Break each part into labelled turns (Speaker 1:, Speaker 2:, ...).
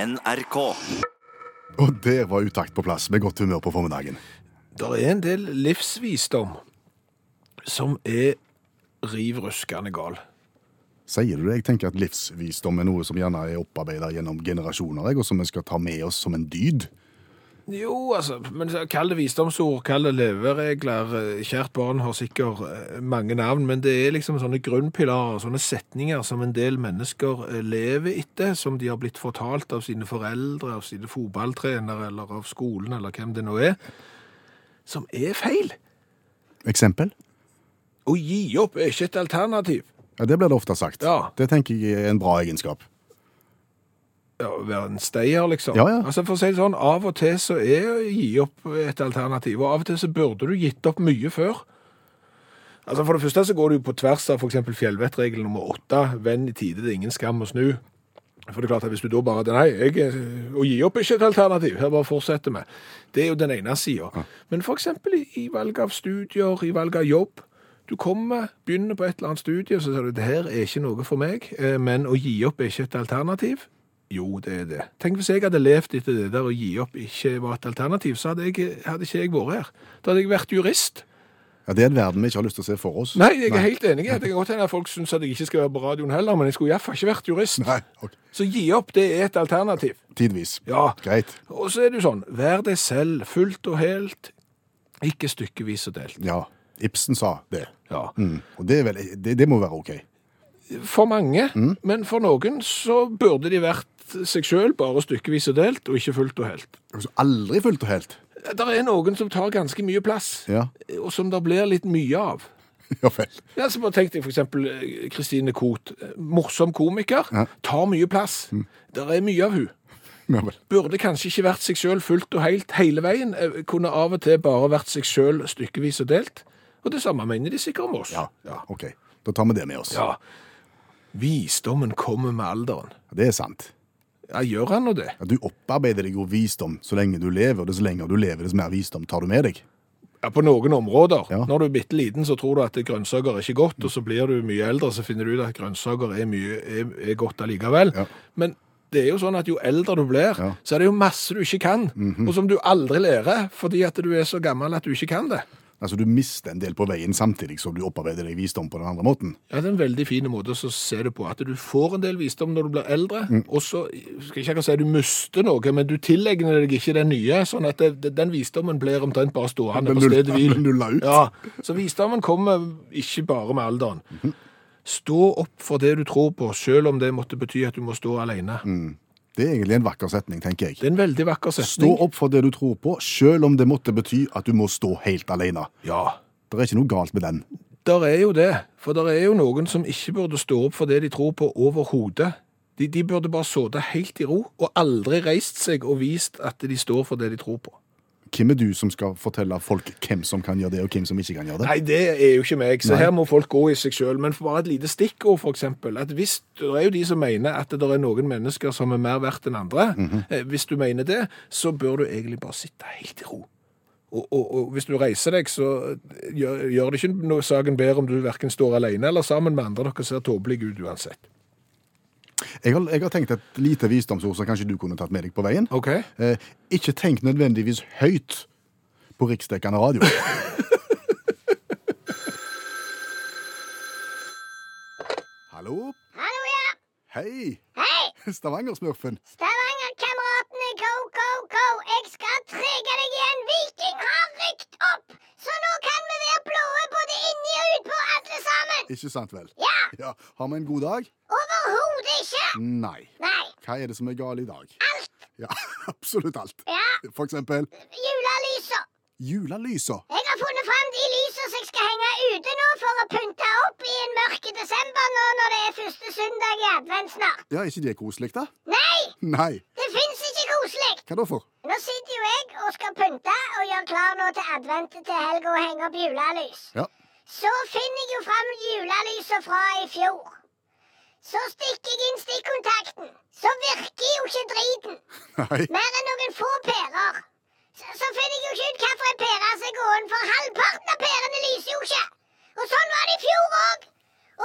Speaker 1: NRK.
Speaker 2: Og der var utakt på plass, med godt humør på formiddagen.
Speaker 3: Det er en del livsvisdom som er riv ruskende gal.
Speaker 2: Sier du det? Jeg tenker at livsvisdom er noe som gjerne er opparbeida gjennom generasjoner, jeg, og som vi skal ta med oss som en dyd.
Speaker 3: Jo, altså, men så kall det visdomsord, kall det leveregler. Kjært barn har sikkert eh, mange navn, men det er liksom sånne grunnpilarer, sånne setninger som en del mennesker eh, lever etter, som de har blitt fortalt av sine foreldre, av sine fotballtrenere, eller av skolen, eller hvem det nå er, som er feil.
Speaker 2: Eksempel?
Speaker 3: Å gi opp er ikke et alternativ.
Speaker 2: Ja, Det blir det ofte sagt.
Speaker 3: Ja.
Speaker 2: Det tenker jeg er en bra egenskap.
Speaker 3: Ja, å være en steier, liksom.
Speaker 2: Ja, ja.
Speaker 3: Altså, for å si det sånn, av og til så er å gi opp et alternativ, og av og til så burde du gitt opp mye før. Altså, for det første så går du på tvers av for eksempel fjellvettregel nummer åtte, venn i tide, det er ingen skam å snu. For det er klart at hvis du da bare, nei, jeg, eh, å gi opp er ikke et alternativ, her bare fortsetter vi. Det er jo den ene siden. Men for eksempel i, i valg av studier, i valg av jobb, du kommer, begynner på et eller annet studie, og så sier du, det her er ikke noe for meg, eh, men å gi opp er ikke et alternativ. Jo, det er det. Tenk hvis jeg hadde levd etter det der å gi opp ikke var et alternativ, så hadde, jeg, hadde ikke jeg vært her. Da hadde jeg vært jurist.
Speaker 2: Ja, Det er en verden vi ikke har lyst til å se for oss.
Speaker 3: Nei, jeg er helt enig. i at Det kan godt hende at folk syns at jeg ikke skal være på radioen heller, men jeg skulle iallfall ikke vært jurist.
Speaker 2: Nei, ok.
Speaker 3: Så gi opp, det er et alternativ.
Speaker 2: Tidvis.
Speaker 3: Ja.
Speaker 2: Greit.
Speaker 3: Og så er det jo sånn, vær deg selv fullt og helt, ikke stykkevis og delt.
Speaker 2: Ja. Ibsen sa det.
Speaker 3: Ja.
Speaker 2: Mm. Og det, er vel, det, det må være OK.
Speaker 3: For mange,
Speaker 2: Mm.
Speaker 3: men for noen så burde de vært seg sjøl, bare stykkevis og delt, og ikke fullt og helt.
Speaker 2: Altså, Aldri fullt og helt.
Speaker 3: Det er noen som tar ganske mye plass,
Speaker 2: Ja.
Speaker 3: og som det blir litt mye av.
Speaker 2: Ja vel.
Speaker 3: Ja, så bare tenkte jeg for eksempel eh, Kristine Koht, eh, morsom komiker,
Speaker 2: Ja. Mm.
Speaker 3: tar mye plass. Der er mye av hun.
Speaker 2: Ja vel.
Speaker 3: Burde kanskje ikke vært seg selv fullt og helt hele veien, eh, kunne av og til bare vært seg selv stykkevis og delt. Og det samme mener de sikkert om oss.
Speaker 2: Ja.
Speaker 3: Ja.
Speaker 2: OK. Da tar vi det med oss.
Speaker 3: Ja. Visdommen kommer med alderen.
Speaker 2: Det er sant.
Speaker 3: Ja, gjør han nå det?
Speaker 2: Ja, du opparbeider deg jo visdom så lenge du lever, og dess lenger du lever, dess mer visdom tar du med deg.
Speaker 3: Ja, på noen områder.
Speaker 2: Ja.
Speaker 3: Når du er bitte liten, så tror du at grønnsaker er ikke godt, og så blir du mye eldre, så finner du ut at grønnsaker er, mye, er, er godt allikevel.
Speaker 2: Ja.
Speaker 3: Men det er jo sånn at jo eldre du blir,
Speaker 2: Ja. Mhm.
Speaker 3: så er det jo masse du ikke kan, og som du aldri lærer, fordi at du er så gammel at du ikke kan det.
Speaker 2: Altså, du mister en del på veien samtidig som du opparbeider deg visdom på den andre måten.
Speaker 3: Ja, det er en veldig fin måte å se det på, at du får en del visdom når du blir eldre,
Speaker 2: Mm.
Speaker 3: og så, skal jeg ikke si at du mister noe, men du tilegner deg ikke den nye, sånn at det, den visdommen blir omtrent bare stående på
Speaker 2: null-
Speaker 3: stedet hvil.
Speaker 2: den nulla ut.
Speaker 3: Ja, så visdommen kommer ikke bare med alderen.
Speaker 2: Mhm.
Speaker 3: Stå opp for det du tror på, selv om det måtte bety at du må stå alene.
Speaker 2: Mm. Det er egentlig en vakker setning, tenker jeg.
Speaker 3: Det er en veldig vakker setning.
Speaker 2: Stå opp for det du tror på, selv om det måtte bety at du må stå helt alene.
Speaker 3: Ja,
Speaker 2: Det er ikke noe galt med den.
Speaker 3: der er jo det. For der er jo noen som ikke burde stå opp for det de tror på overhodet. De, de burde bare såde helt i ro, og aldri reist seg og vist at de står for det de tror på.
Speaker 2: Hvem er du som skal fortelle folk hvem som kan gjøre det, og hvem som ikke kan gjøre det?
Speaker 3: Nei, det er jo ikke meg, så
Speaker 2: Nei.
Speaker 3: her må folk gå i seg sjøl. Men for bare et lite stikkord, f.eks. At hvis det er jo de som mener at det er noen mennesker som er mer verdt enn andre. Eh, Hvis du mener det, så bør du egentlig bare sitte helt i ro. Og, og, og hvis du reiser deg, så eh, gjør, gjør det ikke noe saken bedre om du verken står alene eller sammen med andre. Dere ser tåpelige ut uansett.
Speaker 2: Jeg har, jeg har tenkt et lite visdomsord som kanskje du kunne tatt med deg på veien.
Speaker 3: OK?
Speaker 2: Eh, ikke tenk nødvendigvis høyt på riksdekkende radio. Hallo?
Speaker 4: Hallo, ja.
Speaker 2: Hei!
Speaker 4: Hei,
Speaker 2: Stavanger-smurfen.
Speaker 4: Stavanger-kameratene, go, go, go. Jeg skal trege deg igjen. Viking har rykt opp, så nå kan vi være blåe både inni og utpå, alle sammen.
Speaker 2: Ikke sant vel?
Speaker 4: Ja,
Speaker 2: Ja, Har vi en god dag?
Speaker 4: overhodet ikke.
Speaker 2: Nei.
Speaker 4: Nei,
Speaker 2: Hva er det som er galt i dag?
Speaker 4: alt.
Speaker 2: Ja, absolutt alt.
Speaker 4: Ja,
Speaker 2: For eksempel
Speaker 4: julelysa.
Speaker 2: julelysa.
Speaker 4: Jeg har funnet fram de lysa som jeg skal henge ute nå for å pynte opp i en mørk desember nå når det er første søndag i advent snart.
Speaker 2: Ja, er ikke det koselig, da?
Speaker 4: Nei,
Speaker 2: Nei.
Speaker 4: det fins ikke koselig.
Speaker 2: Hva da for?
Speaker 4: Nå sitter jo jeg og skal pynte og gjøre klar nå til advent til helga og henge opp julelys.
Speaker 2: Ja.
Speaker 4: Så finner jeg jo fram julelysa fra i fjor. Så stikker jeg inn stikkontakten. Så virker jo ikke driten.
Speaker 2: Nei.
Speaker 4: Mer enn noen få pærer. Så, så finner jeg jo ikke ut hvilken pære som er gåen, for halvparten av pærene lyser jo ikke. Og sånn var det i fjor òg.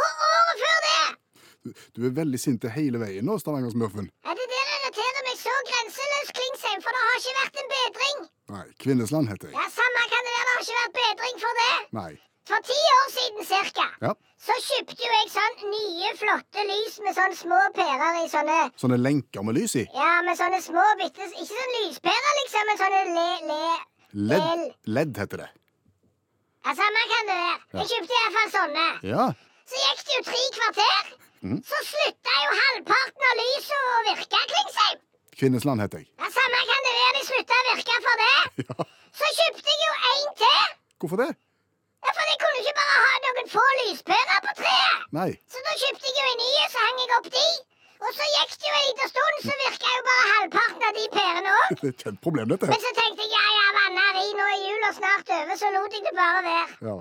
Speaker 4: Og året før det.
Speaker 2: Du, du er veldig sint hele veien nå, Stavanger-smurfen.
Speaker 4: Ja, det der irriterer meg meg så grenseløs, Klingsheim, for det har ikke vært en bedring.
Speaker 2: Nei, Kvinnesland heter jeg.
Speaker 4: Ja, Samme kan det være, det har ikke vært bedring for det.
Speaker 2: Nei.
Speaker 4: For ti år siden cirka,
Speaker 2: Ja.
Speaker 4: så kjøpte jo jeg sånn nye, flotte lys med sånne små pærer i sånne
Speaker 2: Sånne lenker med lys i.
Speaker 4: Ja, med sånne små bitte Ikke sånn lyspærer, liksom, men sånne le... le
Speaker 2: Ledd,
Speaker 4: el-
Speaker 2: ledd heter det.
Speaker 4: Ja, samme kan det være. Jeg kjøpte iallfall sånne.
Speaker 2: Ja.
Speaker 4: Så gikk det jo tre kvarter. Så slutta jo halvparten av lyset å virke, Klingsheim.
Speaker 2: Kvinnesland heter jeg.
Speaker 4: Ja, samme kan det være, de slutta å virke for det.
Speaker 2: Ja.
Speaker 4: Så kjøpte jeg jo en til.
Speaker 2: Hvorfor det?
Speaker 4: Ja, For de kunne ikke bare ha noen få lyspærer på treet.
Speaker 2: Nei.
Speaker 4: Så da kjøpte jeg jo en ny, og så hang jeg opp de. Og så gikk det jo en liten stund, så virka jo bare halvparten av de pærene òg.
Speaker 2: Det er et kjent problem, dette.
Speaker 4: Men så tenkte jeg ja, ja, vanneri, nå er jula snart over, så lot jeg det bare være.
Speaker 2: Ja.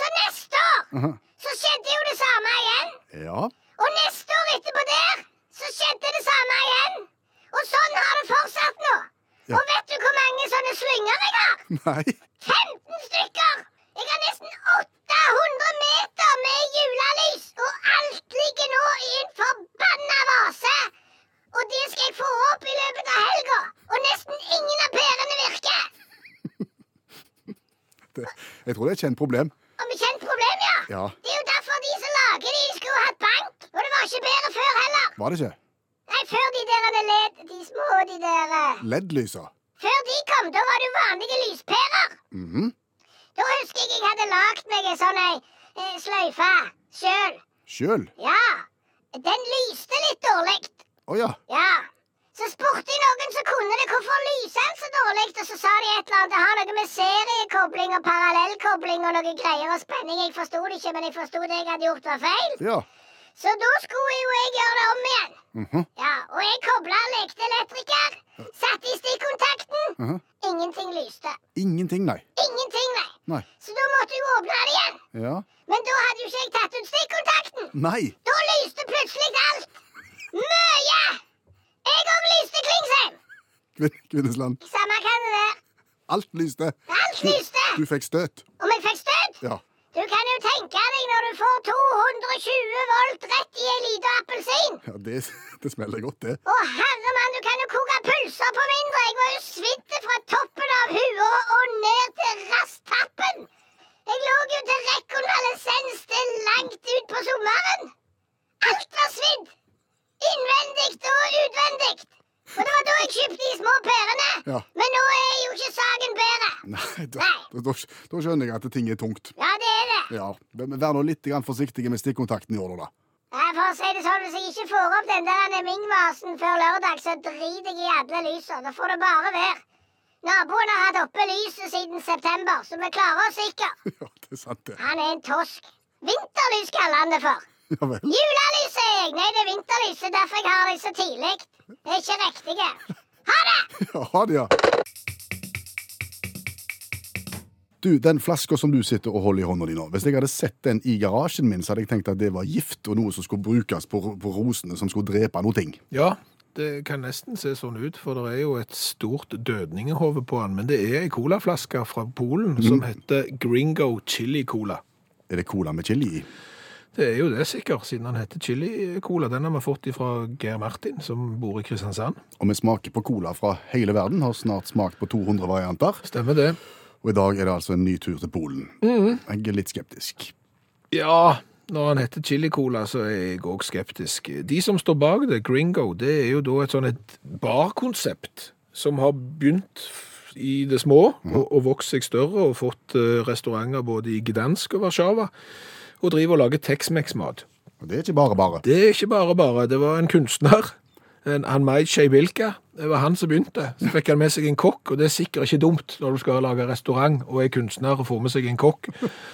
Speaker 4: Så neste år
Speaker 2: Aha.
Speaker 4: så skjedde jo det samme igjen.
Speaker 2: ja.
Speaker 4: Og neste år etterpå der så skjedde det samme igjen. Og sånn har det fortsatt nå.
Speaker 2: Ja.
Speaker 4: Og vet du hvor mange sånne slynger jeg har?
Speaker 2: Nei.
Speaker 4: 15 stykker! Jeg har nesten 800 meter med julelys, og alt ligger nå i en forbanna vase! Og det skal jeg få opp i løpet av helga, og nesten ingen av pærene virker!
Speaker 2: Det, jeg tror det er et kjent problem.
Speaker 4: Om kjent problem, ja.
Speaker 2: Ja.
Speaker 4: Det er jo derfor de som lager de, de skulle jo hatt bank, og det var ikke bedre før heller.
Speaker 2: Var det ikke?
Speaker 4: Nei, før de der led, de små, de der eh,
Speaker 2: LED-lysa.
Speaker 4: Før de kom, da var det jo vanlige lyspærer.
Speaker 2: Mhm.
Speaker 4: Da husker jeg jeg hadde lagd meg en sånn ei eh, sløyfe sjøl.
Speaker 2: Sjøl.
Speaker 4: Ja, den lyste litt dårlig.
Speaker 2: Å ja.
Speaker 4: Ja. Så spurte jeg noen som kunne det, hvorfor lyser den så dårlig? Og så sa de et eller annet, det har noe med seriekobling og parallellkobling og noe greier og spenning. Jeg forsto det ikke, men jeg forsto det jeg hadde gjort var feil.
Speaker 2: Ja.
Speaker 4: Så da skulle jo jeg gjøre det om igjen.
Speaker 2: Mhm.
Speaker 4: Ja, og jeg kobla lekte elektriker, satte i stikkontakten.
Speaker 2: Mhm.
Speaker 4: Ingenting lyste.
Speaker 2: Ingenting, nei.
Speaker 4: Ingenting, nei.
Speaker 2: Nei.
Speaker 4: Så da måtte jeg åpne det igjen.
Speaker 2: Ja.
Speaker 4: Men da hadde jo ikke jeg tatt ut stikkontakten.
Speaker 2: Nei.
Speaker 4: Da lyste plutselig alt. Mye! Jeg òg lyste Klingsheim.
Speaker 2: Kvin- Kvinnesland.
Speaker 4: Samme kan det være.
Speaker 2: Alt lyste.
Speaker 4: Alt lyste.
Speaker 2: Du fikk støt.
Speaker 4: Om jeg fikk støt?
Speaker 2: Ja.
Speaker 4: Du kan jo tenke deg når du får 220 volt rett i ei lita appelsin.
Speaker 2: ja det, det smeller godt, det.
Speaker 4: Å herre mann, du kan jo koke pølser på mindre. Jeg var jo svidd fra toppen av huet og ned til rasstappen. Jeg lå jo til rekonvalesens til langt ut på sommeren. Alt var svidd. Innvendig og utvendig. Og det var da jeg kjøpte de små pærene.
Speaker 2: Ja.
Speaker 4: Men nå er jo ikke saken bedre.
Speaker 2: Nei, da, da, da, da skjønner jeg at ting er tungt.
Speaker 4: Ja, det er det.
Speaker 2: Ja, men Vær nå litt grann forsiktig med stikkontakten i år, da.
Speaker 4: Ja, for å si det sånn, Hvis jeg ikke får opp den der Ming-vasen før lørdag, så driter jeg i alle lysa. Da får det bare være. Naboen har hatt oppe lyset siden september, så vi klarer oss sikkert.
Speaker 2: Ja, det er sant, det.
Speaker 4: Han er en tosk. Vinterlys kaller han det for.
Speaker 2: Ja vel.
Speaker 4: Julelys er jeg. Nei, det er vinterlyset. Derfor jeg har det så tidlig. Det er ikke riktige. Ha det!
Speaker 2: Ja, ha det, ja. Du, den flaska som du sitter og holder i hånda di nå, hvis jeg hadde sett den i garasjen min, så hadde jeg tenkt at det var gift og noe som skulle brukes på, på rosene, som skulle drepe noe ting.
Speaker 3: Ja, det kan nesten se sånn ut, for det er jo et stort dødningehove på den. Men det er ei colaflaske fra Polen som heter Gringo Chili Cola.
Speaker 2: Er det cola med chili i?
Speaker 3: Det er jo det, sikkert, siden han heter Chili Cola. Den har vi fått fra Geir Martin, som bor i Kristiansand.
Speaker 2: Og vi smaker på cola fra hele verden, har snart smakt på 200 varianter.
Speaker 3: Stemmer det.
Speaker 2: Og i dag er det altså en ny tur til Polen.
Speaker 3: Mm.
Speaker 2: Jeg er litt skeptisk.
Speaker 3: Ja, når han heter Chili Cola, så er jeg òg skeptisk. De som står bak det, Gringo, det er jo da et sånn et barkonsept som har begynt f- i det små og, og vokst seg større og fått eh, restauranter både i Gdansk og Warszawa, og driver og lager Tex-Mex-mat.
Speaker 2: Og det er ikke bare bare.
Speaker 3: Det er ikke bare bare. Det var en kunstner. En, han Maid Sheibilka. Det var han som begynte. Så fikk han med seg en kokk, og det er sikkert ikke dumt når du skal lage restaurant og er kunstner og får med seg en kokk.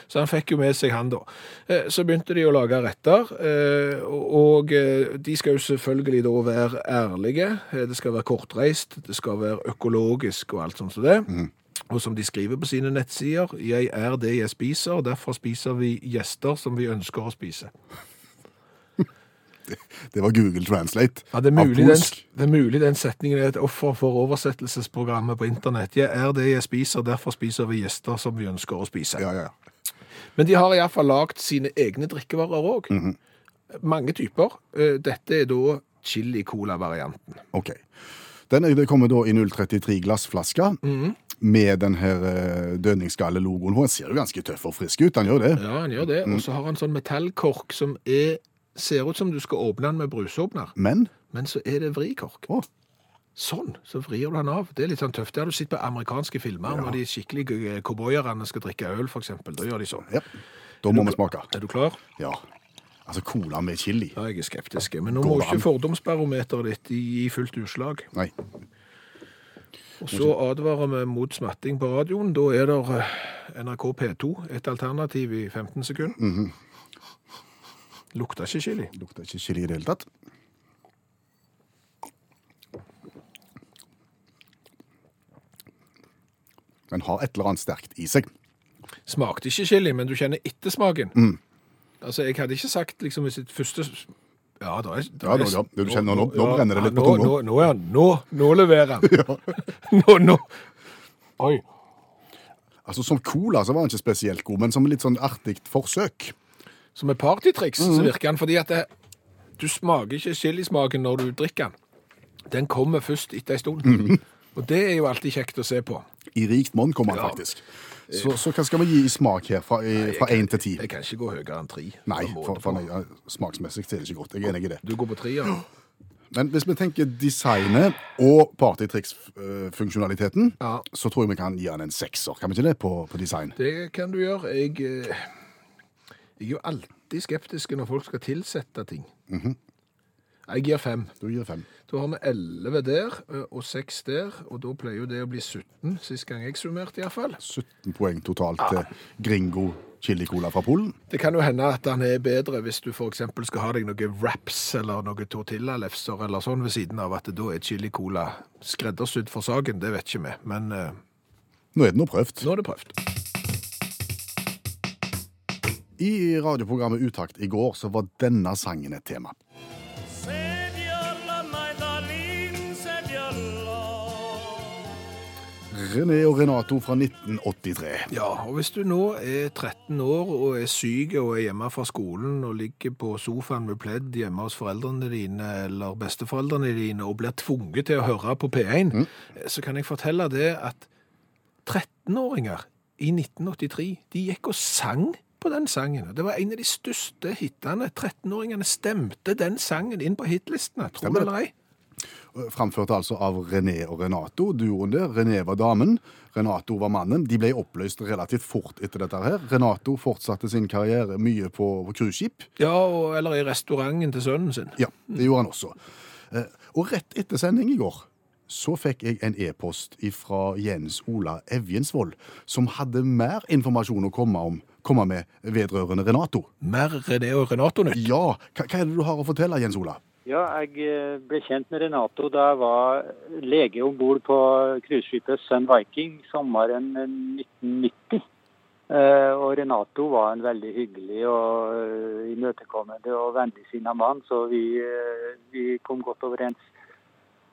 Speaker 3: Så han fikk jo med seg han, da. Eh, Så begynte de å lage retter, eh, og eh, de skal jo selvfølgelig da være ærlige. Eh, Det skal være kortreist, det skal være økologisk og alt sånt som det. Og som de skriver på sine nettsider, jeg er det jeg spiser, og derfor spiser vi gjester som vi ønsker å spise.
Speaker 2: Det var Google Translate.
Speaker 3: Ja, det er,
Speaker 2: av
Speaker 3: mulig den,
Speaker 2: polsk.
Speaker 3: det er mulig den setningen er et offer for oversettelsesprogrammet på internett. Jeg er det jeg spiser, derfor spiser vi gjester som vi ønsker å spise.
Speaker 2: Ja, ja, ja.
Speaker 3: Men de har iallfall lagd sine egne drikkevarer òg.
Speaker 2: Mhm.
Speaker 3: Mange typer. Eh, Dette er da chili-cola-varianten.
Speaker 2: OK. Den er- det kommer da i 033 glassflasker med den her eh, dønningsgallelogoen på. Den ser jo ganske tøff og frisk ut, han gjør det.
Speaker 3: Ja, han gjør det. Og så har han sånn metallkork som er, ser ut som du skal åpne den med brusåpner,
Speaker 2: Men
Speaker 3: men så er det vrikork.
Speaker 2: Å.
Speaker 3: Sånn, så vrir du den av. Det er litt sånn tøft. Det har du sett på amerikanske filmer når de skikkelige cowboyerne skal drikke øl, for eksempel. Da gjør de sånn.
Speaker 2: ja, da må vi smake.
Speaker 3: Er du klar?
Speaker 2: Ja. Altså cola med chili.
Speaker 3: Ja, jeg er skeptisk. Men nå
Speaker 2: Går
Speaker 3: må
Speaker 2: det
Speaker 3: ikke fordomsbarometeret ditt gi fullt utslag.
Speaker 2: Nei.
Speaker 3: Og så advarer vi mot smatting på radioen. Da er det eh, NRK P2, et alternativ i 15 sekunder. Lukter ikke chili.
Speaker 2: Lukter ikke chili i det hele tatt. Den har et eller annet sterkt i seg.
Speaker 3: Smakte ikke chili, men du kjenner ettersmaken. Altså, jeg hadde ikke sagt liksom i sitt første s- Ja, da er, da
Speaker 2: Ja, nå- ja. Du kjenner nå- nå brenner det litt på
Speaker 3: nå-
Speaker 2: tunga.
Speaker 3: Nå, nå, er han- nå, nå leverer han. nå, nå. Oi.
Speaker 2: Altså Som cola så var den ikke spesielt god, men som litt sånn artig forsøk.
Speaker 3: Som et partytriks så virker den fordi at det, du smaker ikke chilismaken når du drikker den. Den kommer først etter en stund. Og det er jo alltid kjekt å se på.
Speaker 2: I rikt monn kom den
Speaker 3: Ja.
Speaker 2: faktisk. Så, så hva skal vi gi i smak her, fra i- fra én til ti?
Speaker 3: Jeg kan ikke gå høyere enn tre.
Speaker 2: Nei,
Speaker 3: Da må
Speaker 2: for,
Speaker 3: du
Speaker 2: for
Speaker 3: få-
Speaker 2: nei, ja, smaksmessig så er det ikke godt. Jeg er enig i det.
Speaker 3: Du går på tre, ja.
Speaker 2: Men hvis vi tenker designet og partytriksfunksjonaliteten,
Speaker 3: ja.
Speaker 2: så tror jeg vi kan gi han en sekser. Kan vi ikke det på, på design?
Speaker 3: Det kan du gjøre. Jeg, eh, jeg er jo alltid skeptisk når folk skal tilsette ting. Jeg gir fem.
Speaker 2: Du gir fem.
Speaker 3: Da har vi 11 der eh, og 6 der, og da pleier jo det å bli 17 sist gang jeg summerte iallfall.
Speaker 2: 17 poeng totalt til Gringo Chili Cola fra Polen.
Speaker 3: Det kan jo hende at den er bedre hvis du f.eks. skal ha deg noen wraps eller noen tortillalefser eller sånn ved siden av at det da er chili cola skreddersydd for saken. Det vet ikke vi, men eh,
Speaker 2: Nå er det nå prøvd.
Speaker 3: nå er det prøvd.
Speaker 2: I radioprogrammet Utakt i går så var denne sangen et tema.
Speaker 1: Senora, my darling, senora.
Speaker 2: René og Renato fra 1983.
Speaker 3: Ja, og hvis du nå er 13 år og er syk og er hjemme fra skolen og ligger på sofaen med pledd hjemme hos foreldrene dine eller besteforeldrene dine og blir tvunget til å høre på P1,
Speaker 2: Mm.
Speaker 3: så kan jeg fortelle det at 13-åringer i 1983, de gikk og sang på den sangen. Og Det var en av de største hittene. 13-åringene stemte den sangen inn på hitlistene, tror
Speaker 2: Stemmer
Speaker 3: du
Speaker 2: det.
Speaker 3: eller ei?
Speaker 2: Framført altså av René og Renato, duoen der. René var damen, Renato var mannen. De ble oppløst relativt fort etter dette her. Renato fortsatte sin karriere mye på på cruiseskip.
Speaker 3: Ja, og, eller i restauranten til sønnen sin.
Speaker 2: Ja, det gjorde han også. Eh, Og rett etter sending i går så fikk jeg en e-post fra Jens Ola Evjensvold, som hadde mer informasjon å komme, om, komme med vedrørende Renato.
Speaker 3: Mer René og Renato nytt.
Speaker 2: Ja, hva, hva er det du har å fortelle, Jens Ola?
Speaker 5: Ja, jeg eh, ble kjent med Renato da jeg var lege om bord på cruiseskipet Sun Viking sommeren 1990. Eh, Og Renato var en veldig hyggelig og eh, imøtekommende og vennligsinna mann, så vi, eh, vi kom godt overens.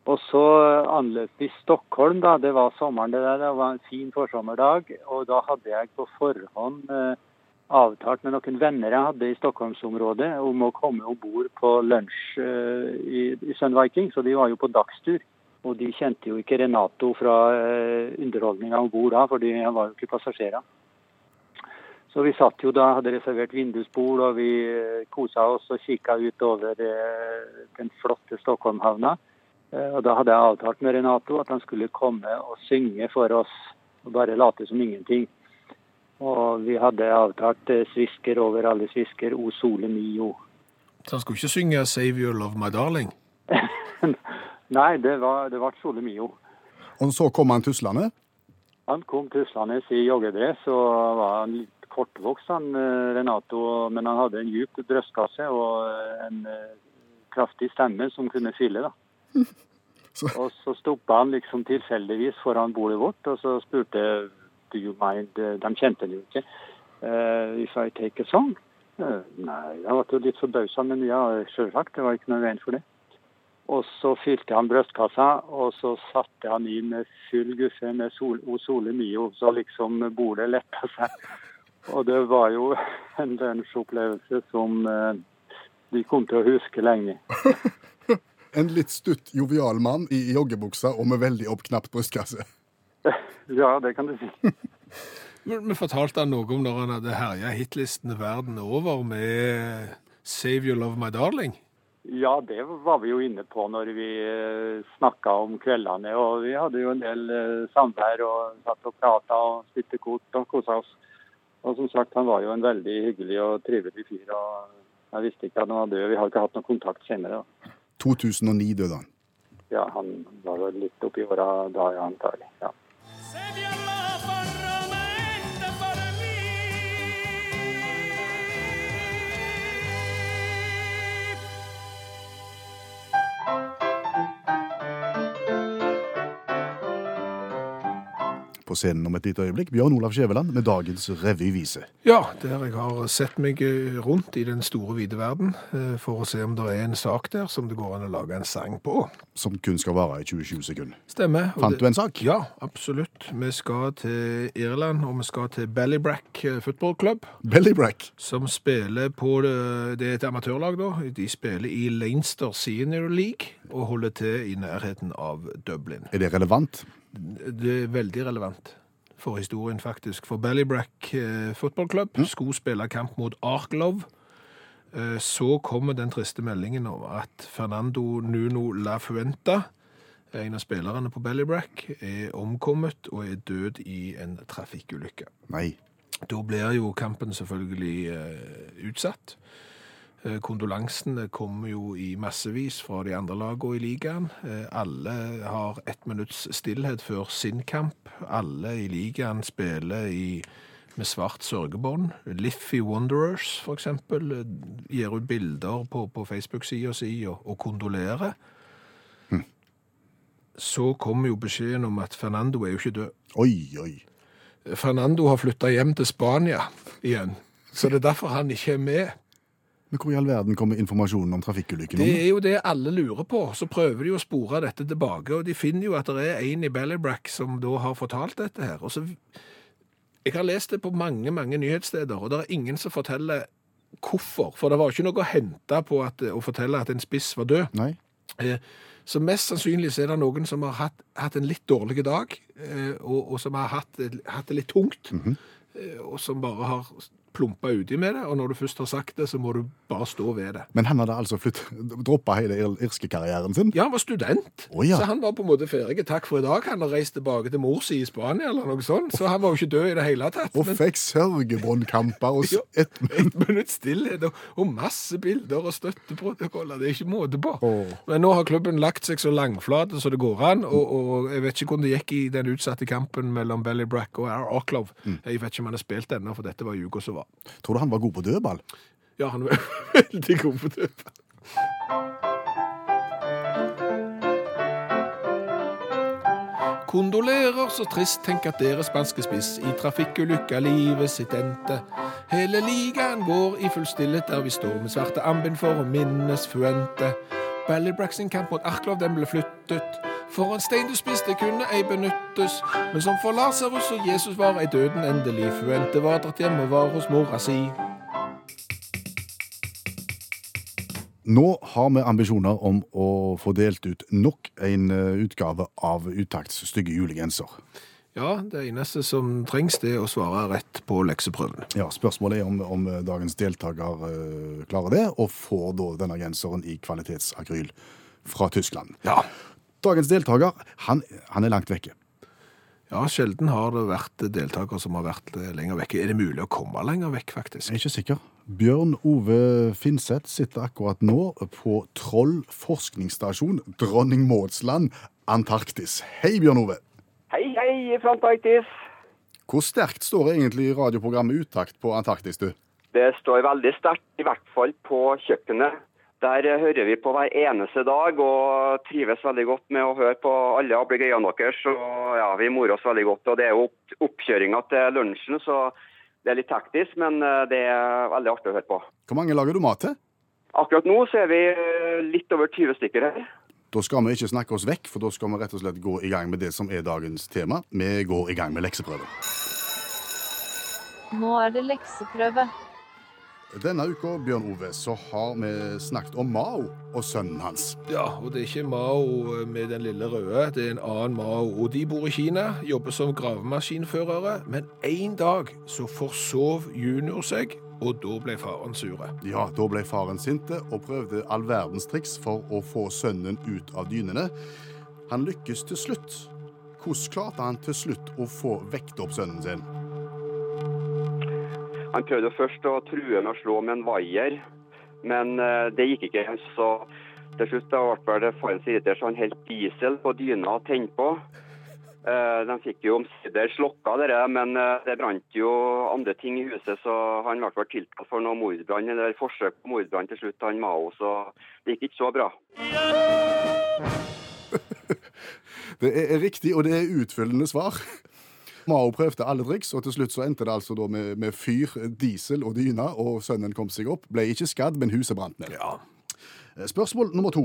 Speaker 5: Og så anløp vi Stockholm, da. Det var sommeren det der. Det var en fin forsommerdag. Og da hadde jeg på forhånd eh, avtalt med noen venner jeg hadde i Stockholmsområdet om å komme om bord på lunsj eh, i, i Sun Viking, så de var jo på dagstur. Og de kjente jo ikke Renato fra uh, underholdninga om bord da, fordi han var jo ikke passasjerer. Så vi satt jo da, hadde reservert vindusbord, og vi uh, kosa oss og kikka ut over eh, den flotte Stockholmhavna. Eh, og da hadde jeg avtalt med Renato at han skulle komme og synge for oss, og bare late som ingenting. Og vi hadde avtalt eh, svisker over alle svisker, o sole mio.
Speaker 3: Så han skulle ikke synge Save Your Love My Darling.
Speaker 5: Nei, det var, det var sole mio.
Speaker 2: Og så kom han tuslende.
Speaker 5: Han kom tuslende i joggedress og var en litt kortvokst, han eh, Renato. Men han hadde en djup brystkasse og eh, en eh, kraftig stemme som kunne fylle, da.
Speaker 2: Så-
Speaker 5: Og så stoppa han liksom tilfeldigvis foran bordet vårt, og så spurte Do you mind De kjente han jo ikke. eh, if I take a song? Eh, nei, jeg ble jo litt forbausa, men ja, sjølsagt. Det var ikke noe i veien for det. Og så fylte han brystkassa, og så satte han i med full guffe med sol, O Sole Mio, så liksom bordet letta seg. Og det var jo en lunsjopplevelse som eh, de kom til å huske lenge.
Speaker 2: En litt stutt, jovial mann i joggebuksa og med veldig oppknapt brystkasse.
Speaker 5: Ja, det kan du si.
Speaker 3: Men vi fortalte han noe om når han hadde herja hitlistene verden over med Save You Love My Darling.
Speaker 5: Ja, det var vi jo inne på når vi snakka om kveldene. Og vi hadde jo en del eh, samvær og satt og prata og spilte kort og kosa oss. Og som sagt, han var jo en veldig hyggelig og trivelig fyr. Og jeg visste ikke at han var død. Vi har ikke hatt noen kontakt senere.
Speaker 2: 2009 døde han.
Speaker 5: Ja, han var vel litt oppi åra da, ja, antagelig. Ja.
Speaker 1: Save your love for romance for me.
Speaker 2: På scenen om et lite øyeblikk, Bjørn Olav Skjæveland med dagens revyvise.
Speaker 3: Ja, der jeg har sett meg eh, rundt i den store, vide verden eh, for å se om det er en sak der som det går an å lage en sang på.
Speaker 2: Som kun skal vare i 20-20 sekunder.
Speaker 3: Stemmer. og
Speaker 2: Fant
Speaker 3: det-
Speaker 2: du en sak?
Speaker 3: Ja, absolutt. Vi skal til Irland, og vi skal til Ballybrack eh, Football Club,
Speaker 2: Bellybrack.
Speaker 3: som spiller på eh, det, det er et amatørlag, da. De spiller i Leinster Senior League og holder til i nærheten av Dublin.
Speaker 2: Er det relevant?
Speaker 3: Det er veldig relevant for historien, faktisk. For Ballybrack eh, fotballklubb skulle spille kamp mot Arklov. Eh, så kommer den triste meldingen om at Fernando Nuno Lafuenta, en av spillerne på Ballybrack, er omkommet og er død i en trafikkulykke.
Speaker 2: Nei.
Speaker 3: Da blir jo kampen selvfølgelig eh, utsatt. Eh, Kondolansene kommer jo i massevis fra de andre lagene i ligaen. Eh, Alle har ett minutts stillhet før sin kamp. Alle i ligaen spiller i, med svart sørgebånd. Liffy Wanderers, for eksempel, eh, gir ut bilder på, på Facebook-sida si og, og kondolerer. Så kommer jo beskjeden om at Fernando er jo ikke død.
Speaker 2: Oi, oi.
Speaker 3: Fernando har flytta hjem til Spania igjen. Så det er derfor han ikke er med.
Speaker 2: Men hvor i all verden kommer informasjonen om trafikkulykken?
Speaker 3: Det
Speaker 2: om?
Speaker 3: er jo det alle lurer på. Så prøver de å spore dette tilbake, og de finner jo at det er en i Ballybrack som da har fortalt dette her. Og så, jeg har lest det på mange, mange nyhetssteder, og det er ingen som forteller hvorfor. For det var ikke noe å hente på at, å fortelle at en spiss var død.
Speaker 2: Nei.
Speaker 3: Eh, Så mest sannsynlig så er det noen som har hatt, hatt en litt dårlig dag, eh, og, og som har hatt, hatt det litt tungt,
Speaker 2: Mhm.
Speaker 3: eh, og som bare har plumpa uti med det. Og når du først har sagt det, så må du bare stå ved det.
Speaker 2: Men han hadde altså flytt- droppa hele ir- irske karrieren sin?
Speaker 3: Ja, han var student,
Speaker 2: Å, ja.
Speaker 3: så han var på en måte ferdig. Takk for i dag. Han har reist tilbake til mor si i Spania, eller noe sånt, så han var jo ikke død i det hele tatt.
Speaker 2: Og
Speaker 3: men-
Speaker 2: fikk sørgebåndkamper og s-
Speaker 3: Ja.
Speaker 2: et
Speaker 3: et minutt stillhet og, og masse bilder og støtteprotokoller. Det er ikke måte på.
Speaker 2: Åh.
Speaker 3: Men nå har klubben lagt seg så langflate som det går an, og, og jeg vet ikke hvordan det gikk i den utsatte kampen mellom Ballybrack og Ar- Arklov. Jeg vet ikke om han har spilt ennå, for dette var i uka som var.
Speaker 2: Tror du han var god på dødball?
Speaker 3: Ja, han var veldig god på det. Kondolerer, så trist, tenk at dere spanske spiss i trafikkulykka livet sitt endte. Hele ligaen går i full stillhet der vi står med svarte ambind for å minnes Fuente. Ballybrack sin kamp mot Arklov, den ble flyttet. For en stein du spiste kunne ei benyttes, men som for Lasarus og Jesus var ei døden endelig. Fuente var dratt hjem og var hos mora si.
Speaker 2: Nå har vi ambisjoner om å få delt ut nok en eh, utgave av Utakts stygge julegenser.
Speaker 3: Ja, det eneste som trengs, det er å svare rett på lekseprøven.
Speaker 2: Ja, Spørsmålet er om, om dagens deltaker eh, klarer det, og får da denne genseren i kvalitetsakryl fra Tyskland.
Speaker 3: Ja.
Speaker 2: Dagens deltaker han, han er langt vekke.
Speaker 3: Ja, Sjelden har det vært deltakere som har vært eh, lenger vekke. Er det mulig å komme lenger vekk, faktisk?
Speaker 2: Jeg er ikke sikker. Bjørn Ove Finseth sitter akkurat nå på Troll forskningsstasjon, Dronning Mauds land, Antarktis. Hei, Bjørn Ove.
Speaker 6: Hei, hei fra Antarktis.
Speaker 2: Hvor sterkt står det egentlig i radioprogrammet Utakt på Antarktis, du?
Speaker 6: Det står veldig sterkt, i hvert fall på kjøkkenet. Der eh, hører vi på hver eneste dag og trives veldig godt med å høre på alle ablegøyene deres. Og ja, vi morer oss veldig godt. Og det er jo opp, oppkjøringa til lunsjen, så det er litt hektisk, men eh, det er veldig artig å høre på.
Speaker 2: Hvor mange lager du mat til?
Speaker 6: Akkurat nå så er vi eh, litt over 20 stykker her.
Speaker 2: Da skal vi ikke snakke oss vekk, for da skal vi rett og slett gå i gang med det som er dagens tema. Vi går i gang med lekseprøven.
Speaker 7: Nå er det lekseprøve.
Speaker 2: Denne uka Bjørn Ove, så har vi snakket om Mao og sønnen hans.
Speaker 3: Ja, og det er ikke Mao eh, med den lille røde, det er en annen Mao. Og de bor i Kina, jobber som gravemaskinførere, men en dag så forsov junior seg, og da ble faren sure.
Speaker 2: Ja, Da ble faren sinte og prøvde all verdens triks for å få sønnen ut av dynene. Han lykkes til slutt. Hvordan klarte han til slutt å få vekt opp sønnen sin?
Speaker 6: Han prøvde først å true med å slå med en vaier, men eh, det gikk ikke. Så til slutt da ble det faren sin irritert, så han helt diesel på dyna og tente på. Eh, De fikk jo omsider slokka det, der, men eh, det brant jo andre ting i huset, så han ble vel tiltalt for noe mordbrann, eller forsøk på mordbrann til slutt, han Mao, så det gikk ikke så bra.
Speaker 2: Det er er riktig, og det er utfyllende svar. Mao prøvde alle triks, og til slutt så endte det altså da med, med fyr, diesel og dyne, og sønnen kom seg opp. Ble ikke skadd, men huset brant ned.
Speaker 3: Ja.
Speaker 2: Eh, Spørsmål nummer to.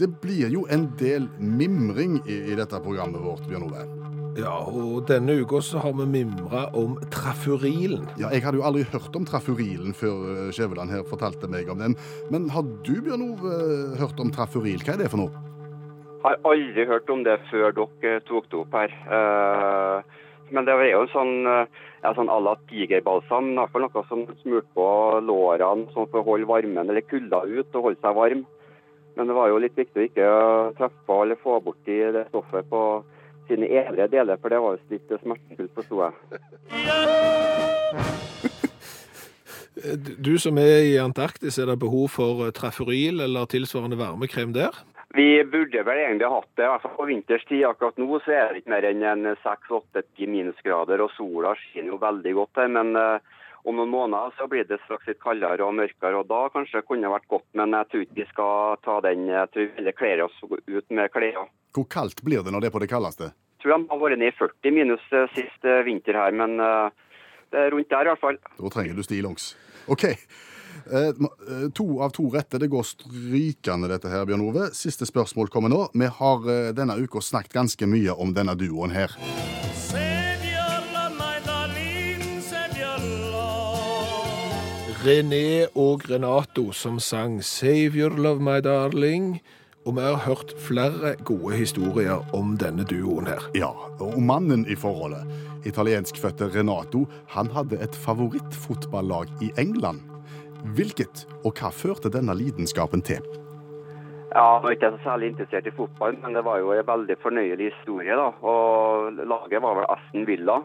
Speaker 2: Det blir jo en del mimring i, i dette programmet vårt, Bjørn Ove.
Speaker 3: ja, og denne uka så har vi mimra om trafurilen.
Speaker 2: Ja, Jeg hadde jo aldri hørt om trafurilen før eh, Skjæveland her fortalte meg om den. Men har du, Bjørn Ove, hørt om trafuril? Hva er det for noe?
Speaker 6: Har aldri hørt om det før dere tok det opp her. Eh, Men det er jo en sånn eh, ja, sånn à la tigerbalsam, i hvert fall noe som smurte på lårene sånn for å holde varmen eller kulda ut og holde seg varm. Men det var jo litt viktig å ikke treffe på eller få borti det stoffet på sine evre deler, for det var jo litt smertefullt, forsto jeg.
Speaker 3: Du som er i Antarktis, er det behov for trafuril eller tilsvarende varmekrem der?
Speaker 6: Vi burde vel egentlig hatt det, i hvert fall på vinterstid. Akkurat nå så er det ikke mer enn en seks-åtte-ti minusgrader, og sola skinner jo veldig godt her. Men eh, om noen måneder så blir det straks litt kaldere og mørkere, og da kanskje kunne det vært godt. Men jeg tror ikke vi skal ta den, jeg tror vi heller kler oss ut med klær.
Speaker 2: Hvor kaldt blir det når det er på det kaldeste?
Speaker 6: Jeg tror de har vært ned i 40 minus eh, sist eh, vinter her, men eh, det er rundt der i hvert fall.
Speaker 2: Da trenger du stillongs. OK. Eh, ma- eh, To av to rette. Det går strykende, dette her, Bjørn Ove. Siste spørsmål kommer nå. Vi har eh, denne uka snakket ganske mye om denne duoen her.
Speaker 1: Sevjalla Maydalin, sevjalla.
Speaker 3: René og Renato som sang 'Save your love, my darling'. Og vi har hørt flere gode historier om denne duoen her.
Speaker 2: Ja, og mannen i forholdet, italienskfødte Renato, han hadde et favorittfotballag i England. Hvilket, og hva førte denne lidenskapen til?
Speaker 6: Ja, jeg var ikke så særlig interessert i fotball, men det var jo en veldig fornøyelig historie. da. Og Laget var vel Aston Villa.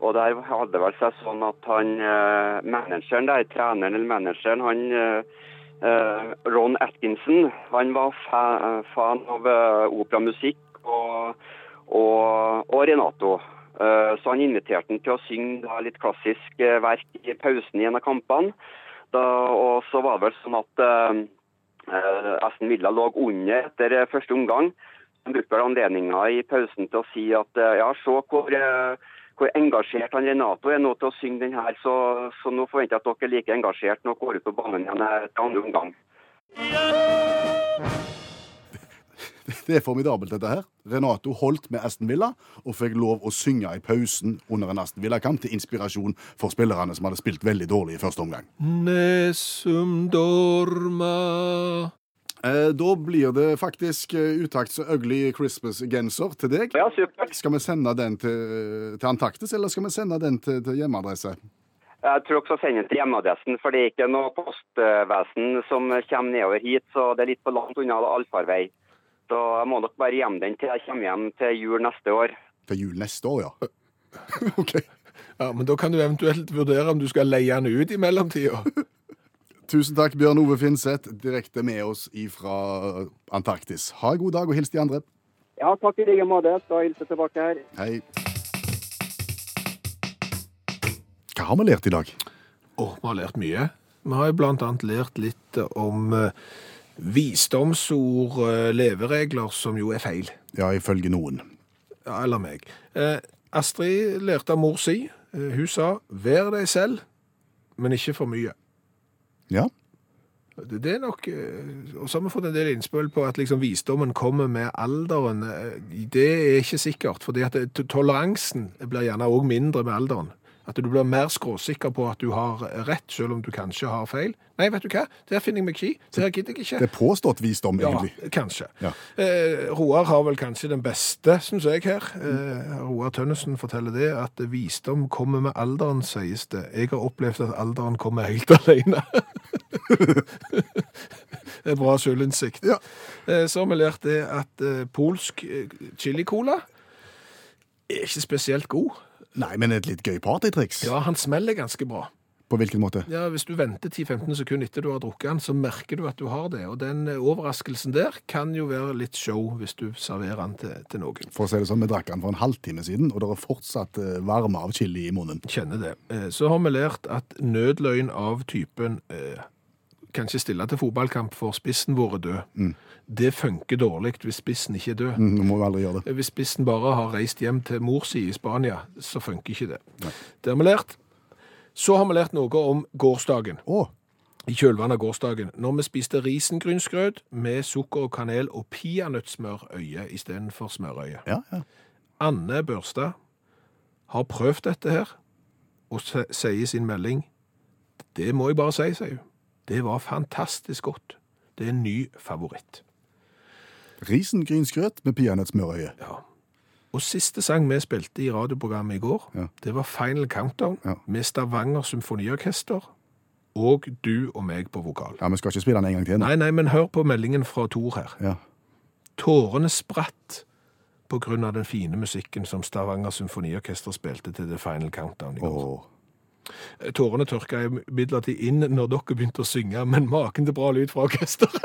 Speaker 6: Og der hadde det vel seg sånn at han, eh, manageren der, treneren eller manageren, han eh, eh, Ron Atkinson, han var fa fan av eh, operamusikk og, og, og Renato. Eh, så han inviterte han til å synge da, litt klassisk eh, verk i pausen i en av kampene. Da, og så var det vel sånn at eh, Eh, Aston Villa lå under etter eh, første omgang. Han brukte vel anledninga i pausen til å si at eh, ja, se hvor, eh, hvor engasjert han Renato er nå til å synge den her, så, så nå forventer jeg at dere er like engasjert når dere går ut på banen igjen etter andre omgang.
Speaker 2: Det er formidabelt, dette her. Renato holdt med Aston Villa og fikk lov å synge i pausen under en Aston Villa-kamp til inspirasjon for spillerne som hadde spilt veldig dårlig i første omgang.
Speaker 3: Nesum dorma
Speaker 2: Eh, da blir det faktisk eh, utakts ugly Christmas-genser til deg.
Speaker 6: Ja, supert.
Speaker 2: Skal vi sende den til, til Antarktis, eller skal vi sende den til, til hjemmeadresse?
Speaker 6: Jeg tror også jeg sender den til hjemmeadressen, for det er ikke noe postvesen som kommer nedover hit, så det er litt for langt unna allfarvei. Så jeg må nok bare gjemme den til jeg kommer hjem til jul neste år.
Speaker 2: Til jul neste år, ja. OK.
Speaker 3: Ja, men da kan du eventuelt vurdere om du skal leie den ut i mellomtida.
Speaker 2: Tusen takk, Bjørn Ove Finseth, direkte med oss ifra Antarktis. Ha en god dag, og hils de andre.
Speaker 6: Ja, takk i like måte. Skal hilse tilbake her.
Speaker 2: Hei. Hva har vi lært i dag?
Speaker 3: Og vi har lært mye. Vi har jo blant annet lært litt om eh, visdomsord, eh, leveregler, som jo er feil.
Speaker 2: Ja, ifølge noen.
Speaker 3: Ja, eller meg. Eh, Astrid lærte av mor si. Eh, hun sa 'vær deg selv, men ikke for mye'.
Speaker 2: Ja.
Speaker 3: Det det er nok, eh, og så har vi fått en del innspill på at liksom visdommen kommer med alderen. Eh, Det er ikke sikkert, for toleransen blir gjerne òg mindre med alderen. At du blir mer skråsikker på at du har rett, selv om du kanskje har feil. Nei, vet du hva, der finner jeg meg ikke i. Der gidder jeg ikke.
Speaker 2: Det er påstått visdom,
Speaker 3: Ja,
Speaker 2: egentlig.
Speaker 3: kanskje.
Speaker 2: Ja.
Speaker 3: Eh, Roar har vel kanskje den beste, syns jeg, her. Eh, Roar Tønnesen forteller det, at visdom kommer med alderen, sies det. Jeg har opplevd at alderen kommer helt alene. Det er bra selvinnsikt.
Speaker 2: Ja.
Speaker 3: Eh, så har vi lært det at eh, polsk eh, chili-cola er ikke spesielt god.
Speaker 2: Nei, men et litt gøy partytriks.
Speaker 3: Ja, han smeller ganske bra.
Speaker 2: På hvilken måte?
Speaker 3: Ja, Hvis du venter 10-15 sekunder etter du har drukket den, så merker du at du har det. Og den eh, overraskelsen der kan jo være litt show hvis du serverer den til, til noen.
Speaker 2: For å si det sånn, Vi drakk den for en halvtime siden, og det er fortsatt eh, varme av chili i munnen.
Speaker 3: Kjenner det. Eh, Så har vi lært at nødløgn av typen eh, kanskje stille til fotballkamp for spissen vår er død. Det funker dårlig hvis spissen ikke er død.
Speaker 2: Mm, Nå må vi aldri gjøre det.
Speaker 3: Eh, Hvis spissen bare har reist hjem til mor si i Spania, så funker ikke det. Det har vi lært. Så har vi lært noe om gårsdagen.
Speaker 2: Å,
Speaker 3: i kjølvannet av gårsdagen, når vi spiste risengrynsgrøt med sukker og kanel og peanøttsmørøye istedenfor smørøye.
Speaker 2: ja, ja.
Speaker 3: Anne Børstad har prøvd dette her, og se- sier i sin melding Det må jeg bare si, sier hun. Det var fantastisk godt. Det er en ny favoritt.
Speaker 2: Risengrynsgrøt med peanøttsmørøye.
Speaker 3: Ja. Og siste sang vi spilte i radioprogrammet i går,
Speaker 2: Ja.
Speaker 3: det var Final Countdown
Speaker 2: Ja.
Speaker 3: med Stavanger Symfoniorkester og du og meg på vokal.
Speaker 2: Ja, Vi skal ikke spille den en gang til. nå.
Speaker 3: Nei, nei, men hør på meldingen fra Tor her.
Speaker 2: Ja.
Speaker 3: Tårene spratt på grunn av den fine musikken som Stavanger Symfoniorkester spilte til The Final Countdown i går.
Speaker 2: Å.
Speaker 3: Tårene tørka imidlertid inn når dere begynte å synge, men maken til bra lyd fra orkesteret.